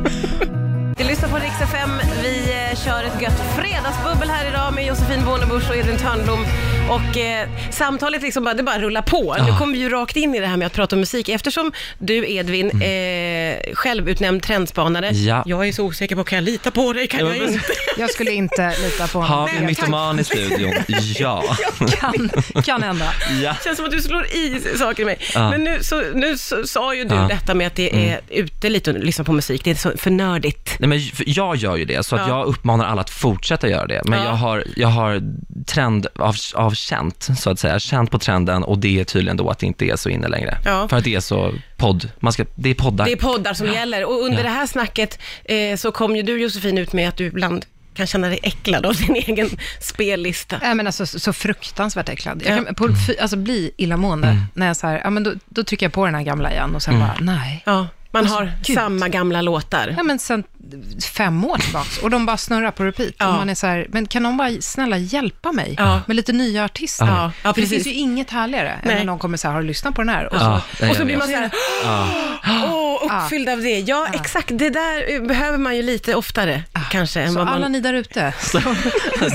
Speaker 2: Du lyssnar på Rix FM. Vi eh, kör ett gött fredagsbubbel här idag med Josefin Bornebusch och Edvin Törnblom. Och eh, samtalet liksom bara, det bara rullar på. Nu kommer vi ju rakt in i det här med att prata om musik eftersom du Edvin, eh, självutnämnd trendspanare.
Speaker 4: Mm. Ja.
Speaker 2: Jag är så osäker på, kan jag lita på dig? Kan
Speaker 4: Ja,
Speaker 2: jag
Speaker 4: men-
Speaker 2: inte?
Speaker 3: Jag skulle inte lita på
Speaker 4: Har
Speaker 3: honom.
Speaker 4: vi
Speaker 2: Nej,
Speaker 4: en
Speaker 2: tack.
Speaker 4: mytoman i studion? Ja.
Speaker 3: Kan, kan hända.
Speaker 4: ja.
Speaker 2: Det känns som att du slår i saker i mig.
Speaker 4: Ja.
Speaker 2: Men nu, så, nu så, sa ju du
Speaker 4: Ja. Mm.
Speaker 2: detta med att det är ute lite och lyssna på musik. Det är så för nördigt.
Speaker 4: Nej, men för jag gör ju det, så att
Speaker 2: Ja.
Speaker 4: jag uppmanar alla att fortsätta göra det. Men
Speaker 2: Ja.
Speaker 4: jag har, jag har trend av, av känt, så att säga. Känt på trenden och det är tydligen då att det inte är så inne längre.
Speaker 2: Ja.
Speaker 4: För att det är så podd, man ska, det är poddar.
Speaker 2: Det är poddar som gäller. Och under det här snacket eh, så kom ju du Josefin ut med att du ibland kan känna dig äcklad av din egen spellista.
Speaker 3: Nej, men alltså, så så fruktansvärt äcklad. Jag kan på,
Speaker 4: Mm.
Speaker 3: fy- alltså, bli illamående när jag så här, ja, men då, då trycker jag på den här gamla igen och sen bara, nej.
Speaker 2: Ja. Man har
Speaker 3: gud.
Speaker 2: samma gamla låtar.
Speaker 3: Ja, men sen fem år tillbaka och de bara snurrar på repeat.
Speaker 2: Ja.
Speaker 3: Och man är så här, men kan de bara snälla hjälpa mig
Speaker 2: Ja.
Speaker 3: med lite nya artister?
Speaker 2: Ja, ja,
Speaker 3: För det
Speaker 2: precis.
Speaker 3: finns ju inget härligare
Speaker 2: Nej.
Speaker 3: än när någon kommer så här, har du lyssnat på den här? Och så,
Speaker 4: Ja, nej,
Speaker 2: och så
Speaker 4: jag
Speaker 2: blir
Speaker 4: vet.
Speaker 2: man såhär, åh, åh, uppfylld av det. Ja, exakt. Det där eh, behöver man ju lite oftare kanske. Än
Speaker 3: så
Speaker 2: vad
Speaker 3: alla
Speaker 2: man...
Speaker 3: ni där ute,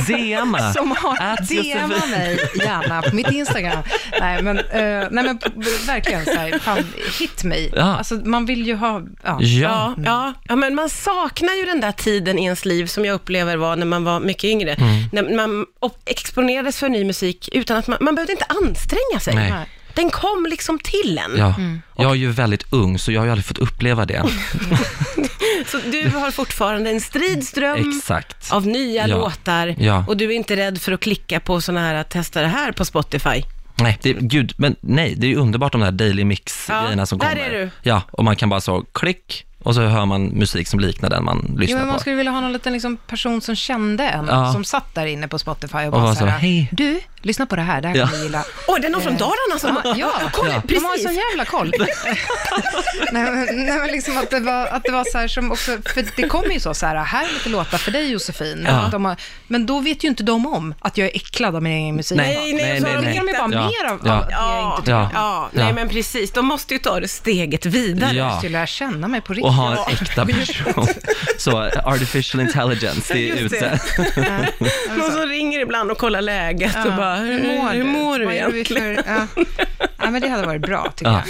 Speaker 4: DMa.
Speaker 3: som
Speaker 4: Att
Speaker 3: har DMa
Speaker 4: Josefin-
Speaker 3: mig gärna på mitt Instagram. Nej, men, eh, nej, men p- verkligen så här, fan, hit mig.
Speaker 4: Ja.
Speaker 3: Alltså, man vill ju ha, ja.
Speaker 4: Ja.
Speaker 2: Ja,
Speaker 4: Mm.
Speaker 2: ja, ja, men man saknar ju den där tiden i ens liv som jag upplever var när man var mycket yngre.
Speaker 4: Mm.
Speaker 2: När man op- exponerades för ny musik utan att man, man behövde inte anstränga sig.
Speaker 4: Nej.
Speaker 3: Nej.
Speaker 2: Den kom liksom till en.
Speaker 4: Ja.
Speaker 3: Mm.
Speaker 4: Jag är ju väldigt ung, så jag har ju aldrig fått uppleva det.
Speaker 2: Mm. Så du har fortfarande en strid ström
Speaker 4: Exakt.
Speaker 2: av nya
Speaker 4: Ja.
Speaker 2: låtar
Speaker 4: Ja.
Speaker 2: och du är inte rädd för att klicka på sådana här, att testa det här på Spotify.
Speaker 4: Nej, det, gud, men nej, det är ju underbart de här daily mix-grejerna
Speaker 2: Ja,
Speaker 4: som
Speaker 2: där
Speaker 4: kommer.
Speaker 2: är du.
Speaker 4: Ja, och man kan bara så klick och så hör man musik som liknar den man
Speaker 3: Jo,
Speaker 4: lyssnar
Speaker 3: men man
Speaker 4: på.
Speaker 3: skulle vilja ha någon liten liksom, person som kände en,
Speaker 4: Ja.
Speaker 3: som satt där inne på Spotify och bara
Speaker 4: bara
Speaker 3: så här,
Speaker 4: så, hej.
Speaker 3: du, lyssna på det här, det här
Speaker 4: Ja.
Speaker 3: kommer du gilla.
Speaker 2: Åh, det är någon från Dalarna som...
Speaker 3: Ja, ja.
Speaker 2: Kolla,
Speaker 4: Ja.
Speaker 3: De har
Speaker 2: precis!
Speaker 3: sån jävla koll. nej, men, nej, men liksom att det var, att det var så här som också, för det kommer ju så, så här, här är lite låtar för dig Josefin.
Speaker 4: Ja.
Speaker 3: De har, men då vet ju inte de om att jag är äcklad av min egen musik.
Speaker 2: Nej, alltså, nej,
Speaker 4: nej,
Speaker 2: så
Speaker 4: nej,
Speaker 3: Då
Speaker 2: har
Speaker 4: nej.
Speaker 3: vill de ju bara
Speaker 4: Ja.
Speaker 3: mer av,
Speaker 4: Ja.
Speaker 3: av att jag
Speaker 2: Ja,
Speaker 3: inte
Speaker 2: ja.
Speaker 4: Ja.
Speaker 2: nej
Speaker 4: Ja.
Speaker 2: men precis. De måste ju ta det steget vidare.
Speaker 4: Ja.
Speaker 3: måste ju lära känna mig på riktigt.
Speaker 4: Och ha en äkta person. Så artificial intelligence, det är
Speaker 2: Just det.
Speaker 4: ute.
Speaker 2: Någon som ringer ibland och kollar läget och bara, hur mår du, hur mår du
Speaker 3: Vad gör vi
Speaker 2: egentligen?
Speaker 3: För, ja. ja, men det hade varit bra tycker
Speaker 4: Ja.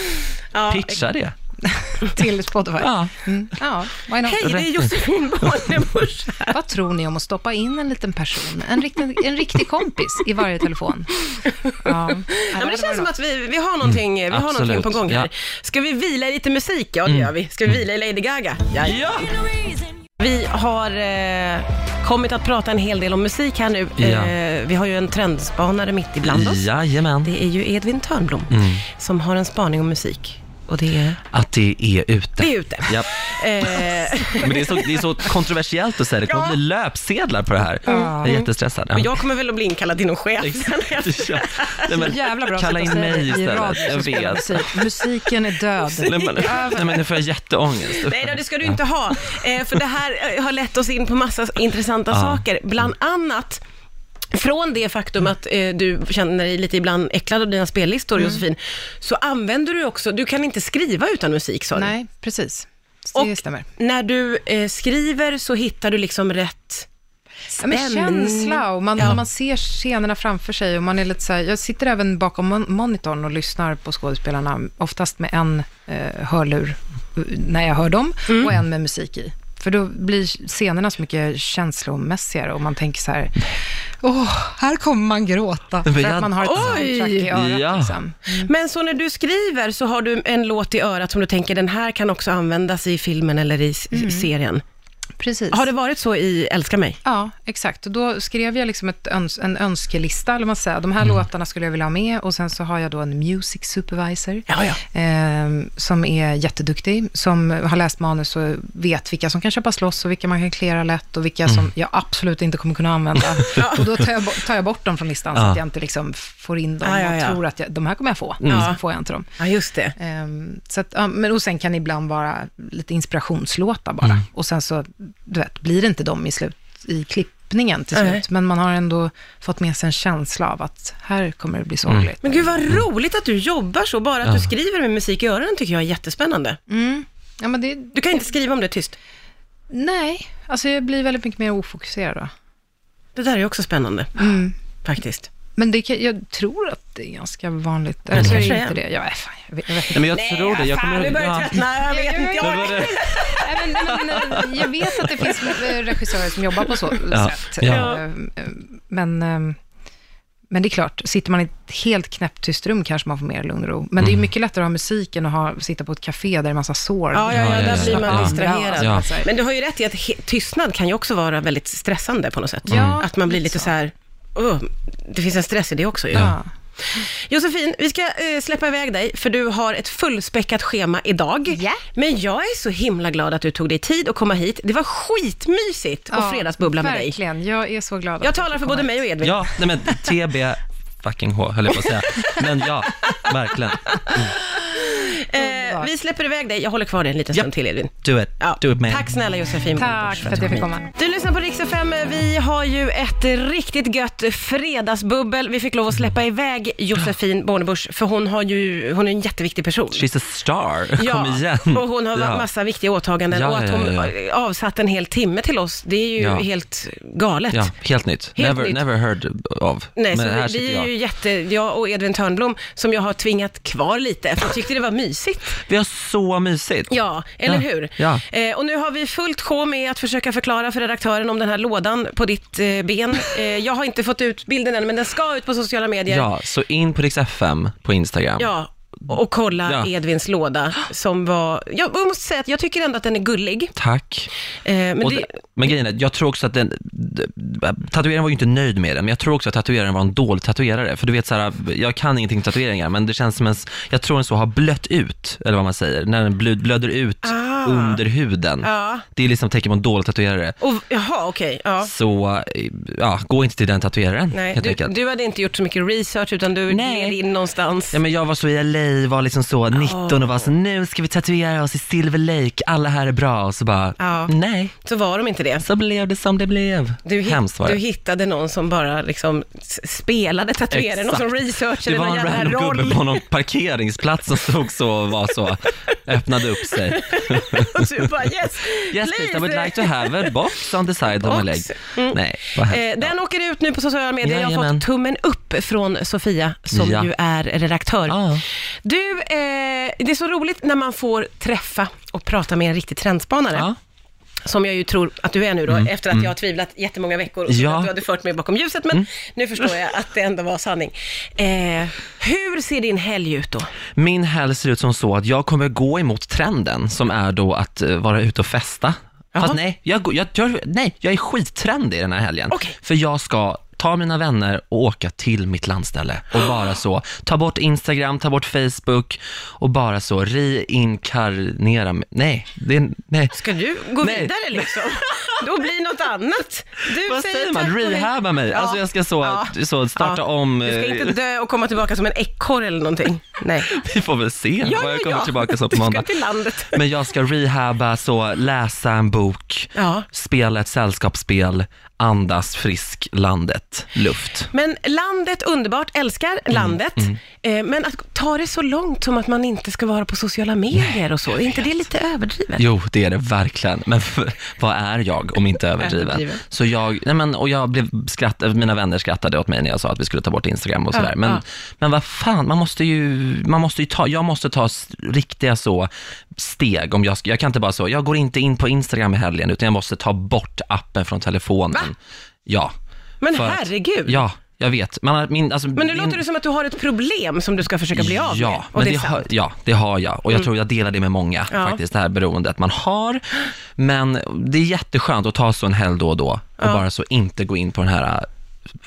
Speaker 2: Ja.
Speaker 4: Pitcha det.
Speaker 3: jag. Till Spotify.
Speaker 4: Ja.
Speaker 3: Mm. ja why not?
Speaker 2: Hej, det är Josefin Bornebusch här.
Speaker 3: Vad tror ni om att stoppa in en liten person, en riktig, en riktig kompis i varje telefon? Ja,
Speaker 2: Ja, men det känns som att vi, vi, har, någonting, vi har
Speaker 4: Mm. absolut.
Speaker 2: någonting på gång här.
Speaker 4: Ja. Mm.
Speaker 2: Ska vi vila i lite musik? Ja, det gör vi. Ska vi vila i Lady Gaga? Ja. Vi har eh, kommit att prata en hel del om musik här nu.
Speaker 4: Ja.
Speaker 2: Eh, vi har ju en trendspanare mitt ibland oss.
Speaker 4: Jajamän.
Speaker 2: Det är ju Edvin Törnblom
Speaker 4: Mm.
Speaker 2: som har en spaning om musik. Och det är,
Speaker 4: Att det är ute.
Speaker 2: det är ute.
Speaker 4: Ja.
Speaker 2: Eh,
Speaker 4: Men det är, så, det är så kontroversiellt att säga det. Det kommer bli löpsedlar på det här. Jag är jättestressad. Ja.
Speaker 2: och jag kommer väl att bli inkallad till någon chef sen.
Speaker 4: Ja. Nej, men,
Speaker 3: Jävla bra
Speaker 4: kalla
Speaker 3: sätt
Speaker 4: in
Speaker 3: att säga det
Speaker 4: mig
Speaker 3: i
Speaker 4: istället.
Speaker 3: radio
Speaker 4: Jag
Speaker 3: som spelar
Speaker 4: vet.
Speaker 3: musik. Musiken är död.
Speaker 4: Nej men, nej, men nu får jag jätteångest.
Speaker 2: Nej då, det ska du inte ha. Eh, för det här eh, har lett oss in på massa intressanta saker. Bland annat från det faktum att eh, du känner dig lite ibland äcklad av dina spellistor, Josefin, så använder du också, du kan inte skriva utan musik sa du.
Speaker 3: Nej, precis. Det
Speaker 2: Och
Speaker 3: stämmer.
Speaker 2: när du eh, skriver så hittar du liksom rätt
Speaker 3: Ja, men
Speaker 2: stämning.
Speaker 3: känsla och man, när man ser scenerna framför sig och man är lite så här, jag sitter även bakom mon- monitorn och lyssnar på skådespelarna, oftast med en eh, hörlur eh, när jag hör dem
Speaker 2: Mm.
Speaker 3: och en med musik i. För då blir scenerna så mycket känslomässigare och man tänker så här, åh, här kommer man gråta för
Speaker 4: jag-
Speaker 3: att man har ett
Speaker 2: Oj!
Speaker 3: soundtrack i örat.
Speaker 4: Ja.
Speaker 3: Liksom.
Speaker 2: Men så när du skriver så har du en låt i örat som du tänker, den här kan också användas i filmen eller i s- serien.
Speaker 3: Precis.
Speaker 2: Har det varit så i Älska mig?
Speaker 3: Ja, exakt. Och då skrev jag liksom ett öns en önskelista, eller vad man säger. De här
Speaker 2: Mm.
Speaker 3: låtarna skulle jag vilja ha med och sen så har jag då en music supervisor.
Speaker 2: Ja, ja.
Speaker 3: ehm, som är jätteduktig, som har läst manus och vet vilka som kan köpas loss och vilka man kan klära lätt och
Speaker 2: Mm.
Speaker 3: vilka som jag absolut inte kommer kunna använda. Och då tar jag, bo- tar jag bort dem från listan så
Speaker 4: Ja.
Speaker 3: att jag inte liksom får in dem
Speaker 2: Ja, ja, ja.
Speaker 3: och tror att jag, de här kommer jag få,
Speaker 2: Mm.
Speaker 3: så får jag inte dem.
Speaker 2: Ja, just det.
Speaker 3: Ehm, så att, ja, men, och sen kan det ibland vara lite inspirationslåtar bara. Och sen så, du vet, blir det inte dem i, slut, i klippningen till slut.
Speaker 2: Nej.
Speaker 3: Men man har ändå fått med sig en känsla av att här kommer det bli sorgligt.
Speaker 2: Men gud vad roligt att du jobbar så, bara att du skriver med musik i öronen tycker jag är jättespännande.
Speaker 3: Ja, men det,
Speaker 2: Du kan inte skriva om det är tyst.
Speaker 3: nej, alltså jag blir väldigt mycket mer ofokuserad då.
Speaker 2: Det där är ju också spännande, faktiskt.
Speaker 3: Men det, kan- jag tror att det är ganska vanligt. Eller så är
Speaker 2: kanske
Speaker 3: det
Speaker 2: det
Speaker 3: inte det. Jag, är fan, jag, vet, jag vet inte.
Speaker 4: Nej, men jag tror det. Jag kommer, ja.
Speaker 2: jag
Speaker 3: vet inte, jag
Speaker 4: Vad var det?
Speaker 3: Nej, men, men, eh, jag vet att det finns eh, regissörer som jobbar på så
Speaker 4: Ja,
Speaker 3: sätt.
Speaker 4: ja.
Speaker 3: Eh, eh, Men, eh, men det är klart, sitter man i ett helt knäpptyst rum kanske man får mer lugn och ro. Men
Speaker 4: Mm.
Speaker 3: det är mycket lättare att ha musiken och ha, sitta på ett café där det är massa sår.
Speaker 2: Ja, ja,
Speaker 4: Ja,
Speaker 2: ja,
Speaker 4: ja,
Speaker 2: där
Speaker 4: ja,
Speaker 2: blir
Speaker 4: ja.
Speaker 2: man
Speaker 4: Ja.
Speaker 2: distraherad.
Speaker 4: Ja.
Speaker 3: Alltså,
Speaker 2: Men du har ju rätt i att he- tystnad kan ju också vara väldigt stressande på något sätt.
Speaker 3: Ja,
Speaker 2: att man blir lite
Speaker 3: lite så.
Speaker 2: så här, "Åh, det finns en stress i det också ju.
Speaker 3: ja.
Speaker 2: Josefin, vi ska eh, släppa iväg dig, för du har ett fullspäckat schema idag.
Speaker 3: Ja.
Speaker 2: Men jag är så himla glad att du tog dig tid att komma hit. Det var skitmysigt att
Speaker 3: Ja,
Speaker 2: fredagsbubbla med dig.
Speaker 3: Verkligen, jag är så glad. att
Speaker 2: Jag talar
Speaker 3: fick
Speaker 2: för både
Speaker 3: komma hit.
Speaker 2: mig och Edvin.
Speaker 4: Ja, nej men TB fucking H höll jag på att säga. Men ja, verkligen.
Speaker 2: Eh,
Speaker 3: underbart.
Speaker 2: Vi släpper iväg dig. Jag håller kvar dig en liten
Speaker 4: Ja.
Speaker 2: stund till, Edvin.
Speaker 4: Do it.
Speaker 2: Ja.
Speaker 4: Do it, man.
Speaker 2: Tack snälla Josefin.
Speaker 3: Tack för att jag fick komma.
Speaker 2: Du lyssnar på Rix FM. Vi har ju ett riktigt gött fredagsbubbel. Vi fick lov att släppa iväg Josefin Bornebusch, för hon, har ju, hon är en jätteviktig person.
Speaker 4: She's a star. Kom igen.
Speaker 2: och hon har
Speaker 4: Ja.
Speaker 2: massa viktiga åtaganden
Speaker 4: Ja,
Speaker 2: och att
Speaker 4: ja,
Speaker 2: hon
Speaker 4: ja,
Speaker 2: avsatt en hel timme till oss, det är ju
Speaker 4: Ja.
Speaker 2: helt galet.
Speaker 4: Ja, helt nytt.
Speaker 2: Helt
Speaker 4: never,
Speaker 2: nytt.
Speaker 4: never heard of.
Speaker 2: Nej, så
Speaker 4: här
Speaker 2: vi,
Speaker 4: sitter
Speaker 2: vi är
Speaker 4: jag.
Speaker 2: ju jätte, jag och Edvin Törnblom, som jag har tvingat kvar lite, för jag tyckte det var mysigt.
Speaker 4: Vi har så mysigt.
Speaker 2: Ja, eller
Speaker 4: Ja,
Speaker 2: hur?
Speaker 4: ja.
Speaker 2: Eh, och nu har vi fullt sjå med att försöka förklara för redaktören om den här lådan på ditt eh, ben. Eh, jag har inte fått ut bilden än, men den ska ut på sociala medier.
Speaker 4: Ja, så in på Rix FM på Instagram.
Speaker 2: Ja, och kolla
Speaker 4: Ja.
Speaker 2: Edvins låda som var... Jag, jag måste säga att jag tycker ändå att den är gullig.
Speaker 4: Tack.
Speaker 2: Eh, men
Speaker 4: Och
Speaker 2: det,
Speaker 4: det... Men grejen är, jag tror också att den, d- tatueraren var ju inte nöjd med den, men jag tror också att tatueraren var en dålig tatuerare. För du vet så här, jag kan ingenting om tatueringar, men det känns som en, s- jag tror den så har blött ut, eller vad man säger, när den blöd, blöder ut
Speaker 2: Ah.
Speaker 4: under huden.
Speaker 2: Ja.
Speaker 4: Det är liksom tecken på en dålig tatuerare.
Speaker 2: och, jaha, okej. ja.
Speaker 4: Så, eh, ja, gå inte till den tatueraren
Speaker 2: Nej,
Speaker 4: helt
Speaker 2: du,
Speaker 4: enkelt.
Speaker 2: du hade inte gjort så mycket research, utan du
Speaker 4: Nej.
Speaker 2: gled in någonstans.
Speaker 4: Ja, men jag var så i LA, var liksom så 19 och var så, nu ska vi tatuera oss i Silver Lake, alla här är bra. Och så bara,
Speaker 2: Ja.
Speaker 4: nej,
Speaker 2: Så var de inte det.
Speaker 4: så blev det som det blev.
Speaker 2: Du, hit,
Speaker 4: Hemskt var
Speaker 2: du
Speaker 4: det.
Speaker 2: hittade någon som bara liksom s- spelade tatuerare, någon som
Speaker 4: Det
Speaker 2: researchade
Speaker 4: var
Speaker 2: någon
Speaker 4: en
Speaker 2: jävla
Speaker 4: random
Speaker 2: roll.
Speaker 4: gubbe på någon parkeringsplats som stod så och var så, öppnade upp sig.
Speaker 2: och du bara yes,
Speaker 4: Yes please, I would like to have a box on the side of my leg.
Speaker 2: Box. Mm.
Speaker 4: Nej, vad
Speaker 2: Eh,
Speaker 4: hemskt.
Speaker 2: den åker ut nu på sociala medier. Jag har
Speaker 4: Jajamän.
Speaker 2: fått tummen upp från Sofia, som
Speaker 4: Ja.
Speaker 2: ju är redaktör.
Speaker 4: Ja.
Speaker 2: Du, eh, det är så roligt när man får träffa och prata med en riktig trendspanare.
Speaker 4: Ja. Mm.
Speaker 2: Som jag ju tror att du är nu då, efter att jag har tvivlat jättemånga veckor och
Speaker 4: Ja. Mm.
Speaker 2: ja. att du hade fört mig bakom ljuset. Men nu förstår jag att det ändå var sanning. Eh, hur ser din helg ut då?
Speaker 4: Min helg ser ut som så att jag kommer gå emot trenden som är då att eh, vara ute och festa. Fast nej jag, går- jag, jag, nej, jag är skittrendig den här helgen.
Speaker 2: Okej.
Speaker 4: För jag ska ta mina vänner och åka till mitt landställe och bara så, ta bort Instagram, ta bort Facebook och bara så reinkarnera mig. Nej, det, är- nej.
Speaker 2: Ska du gå
Speaker 4: Nej.
Speaker 2: vidare liksom? Då blir något annat. Du
Speaker 4: Vad säger
Speaker 2: tack
Speaker 4: man?
Speaker 2: och hej.
Speaker 4: Rehabba mig? Alltså jag ska så,
Speaker 2: Ja.
Speaker 4: så starta
Speaker 2: Ja.
Speaker 4: om.
Speaker 2: Du ska
Speaker 4: eh,
Speaker 2: inte dö och komma tillbaka som en ekorre eller någonting. Nej.
Speaker 4: Vi får väl se
Speaker 2: Ja,
Speaker 4: vad
Speaker 2: ja,
Speaker 4: jag kommer
Speaker 2: ja.
Speaker 4: tillbaka så
Speaker 2: Du
Speaker 4: på
Speaker 2: ska
Speaker 4: måndag.
Speaker 2: till landet.
Speaker 4: Men jag ska rehabba, så läsa en bok,
Speaker 2: Ja.
Speaker 4: spela ett sällskapsspel, andas frisk landet, luft.
Speaker 2: Men landet, underbart, älskar
Speaker 4: Mm.
Speaker 2: landet. Eh, Men att ta det så långt som att man inte ska vara på sociala medier och så, är inte det lite överdrivet?
Speaker 4: Jo, det är det verkligen. Men vad är jag om inte överdriven?
Speaker 3: Överdriven.
Speaker 4: Så jag, nej men, och jag blev skratt, mina vänner skrattade åt mig när jag sa att vi skulle ta bort Instagram och
Speaker 2: Ja,
Speaker 4: sådär. Men,
Speaker 2: ja.
Speaker 4: men vad fan, man måste ju, man måste ju ta, jag måste ta s- riktiga så steg. Om jag, ska- jag kan inte bara så, jag går inte in på Instagram i helgen, utan jag måste ta bort appen från telefonen.
Speaker 2: Va?
Speaker 4: Ja.
Speaker 2: Men
Speaker 4: För att-
Speaker 2: herregud.
Speaker 4: Ja, jag vet. Man, har- min, alltså,
Speaker 2: Men nu
Speaker 4: min,
Speaker 2: låter det som att du har ett problem som du ska försöka bli av med.
Speaker 4: Ja,
Speaker 2: Och
Speaker 4: men
Speaker 2: det
Speaker 4: det
Speaker 2: är
Speaker 4: har,
Speaker 2: sant. Mm.
Speaker 4: ja, det har jag. Och jag tror jag delar det med många,
Speaker 2: Ja.
Speaker 4: faktiskt, det här beroendet man har. Men det är jätteskönt att ta så en helg då och då och bara så inte gå in på den här äh,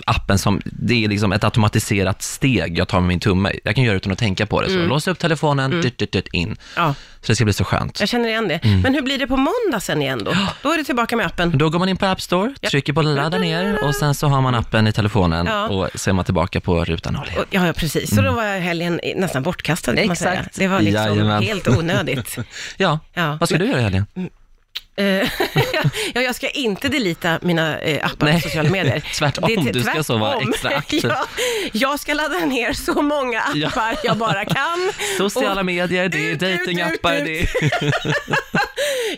Speaker 4: appen som, det är liksom ett automatiserat steg jag tar med min tumme. Jag kan göra det utan att tänka på det. Så lås upp telefonen, dyrt, dyrt, dyrt, in.
Speaker 2: Mm. Ja.
Speaker 4: Så det ska bli så skönt.
Speaker 2: Jag känner igen det.
Speaker 4: Mm.
Speaker 2: Men hur blir det på måndag sen igen då? Då är du tillbaka med appen.
Speaker 4: Då går man in på App Store, trycker på ladda ner och sen så har man appen i telefonen
Speaker 2: Ja.
Speaker 4: och så är man tillbaka på ruta noll igen.
Speaker 2: Och- Ja, ja precis. Så då var helgen i- nästan bortkastad kan man säga.
Speaker 4: Mm. Exakt.
Speaker 2: Det var liksom
Speaker 4: Jajamän.
Speaker 2: helt onödigt.
Speaker 4: Ja,
Speaker 2: Ja.
Speaker 4: vad ska du göra i helgen?
Speaker 2: Eh, ja, jag ska inte delita mina eh, appar
Speaker 4: Nej,
Speaker 2: på sociala medier.
Speaker 4: tvärtom. Du ska så vara extra aktiv.
Speaker 2: ja, jag ska ladda ner så många
Speaker 4: Ja.
Speaker 2: appar jag bara kan.
Speaker 4: Sociala
Speaker 2: Och
Speaker 4: medier, det är
Speaker 2: ut, ut,
Speaker 4: dejtingappar,
Speaker 2: ut,
Speaker 4: det
Speaker 2: ut.
Speaker 4: är...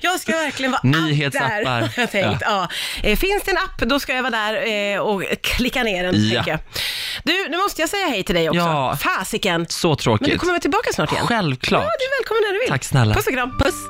Speaker 2: Jag ska verkligen vara
Speaker 4: Nyhetsappar.
Speaker 2: allt där, har jag tänkt. Ja. Eh, Finns det en app, då ska jag vara där eh, och klicka ner den,
Speaker 4: Ja.
Speaker 2: tänker jag. Du, nu måste jag säga hej till dig också.
Speaker 4: Ja.
Speaker 2: Fasiken.
Speaker 4: Så
Speaker 2: Men du
Speaker 4: tråkigt.
Speaker 2: kommer väl tillbaka snart igen?
Speaker 4: Självklart.
Speaker 2: Ja, du är välkommen när du vill.
Speaker 4: Tack snälla.
Speaker 2: Puss och kram. Puss.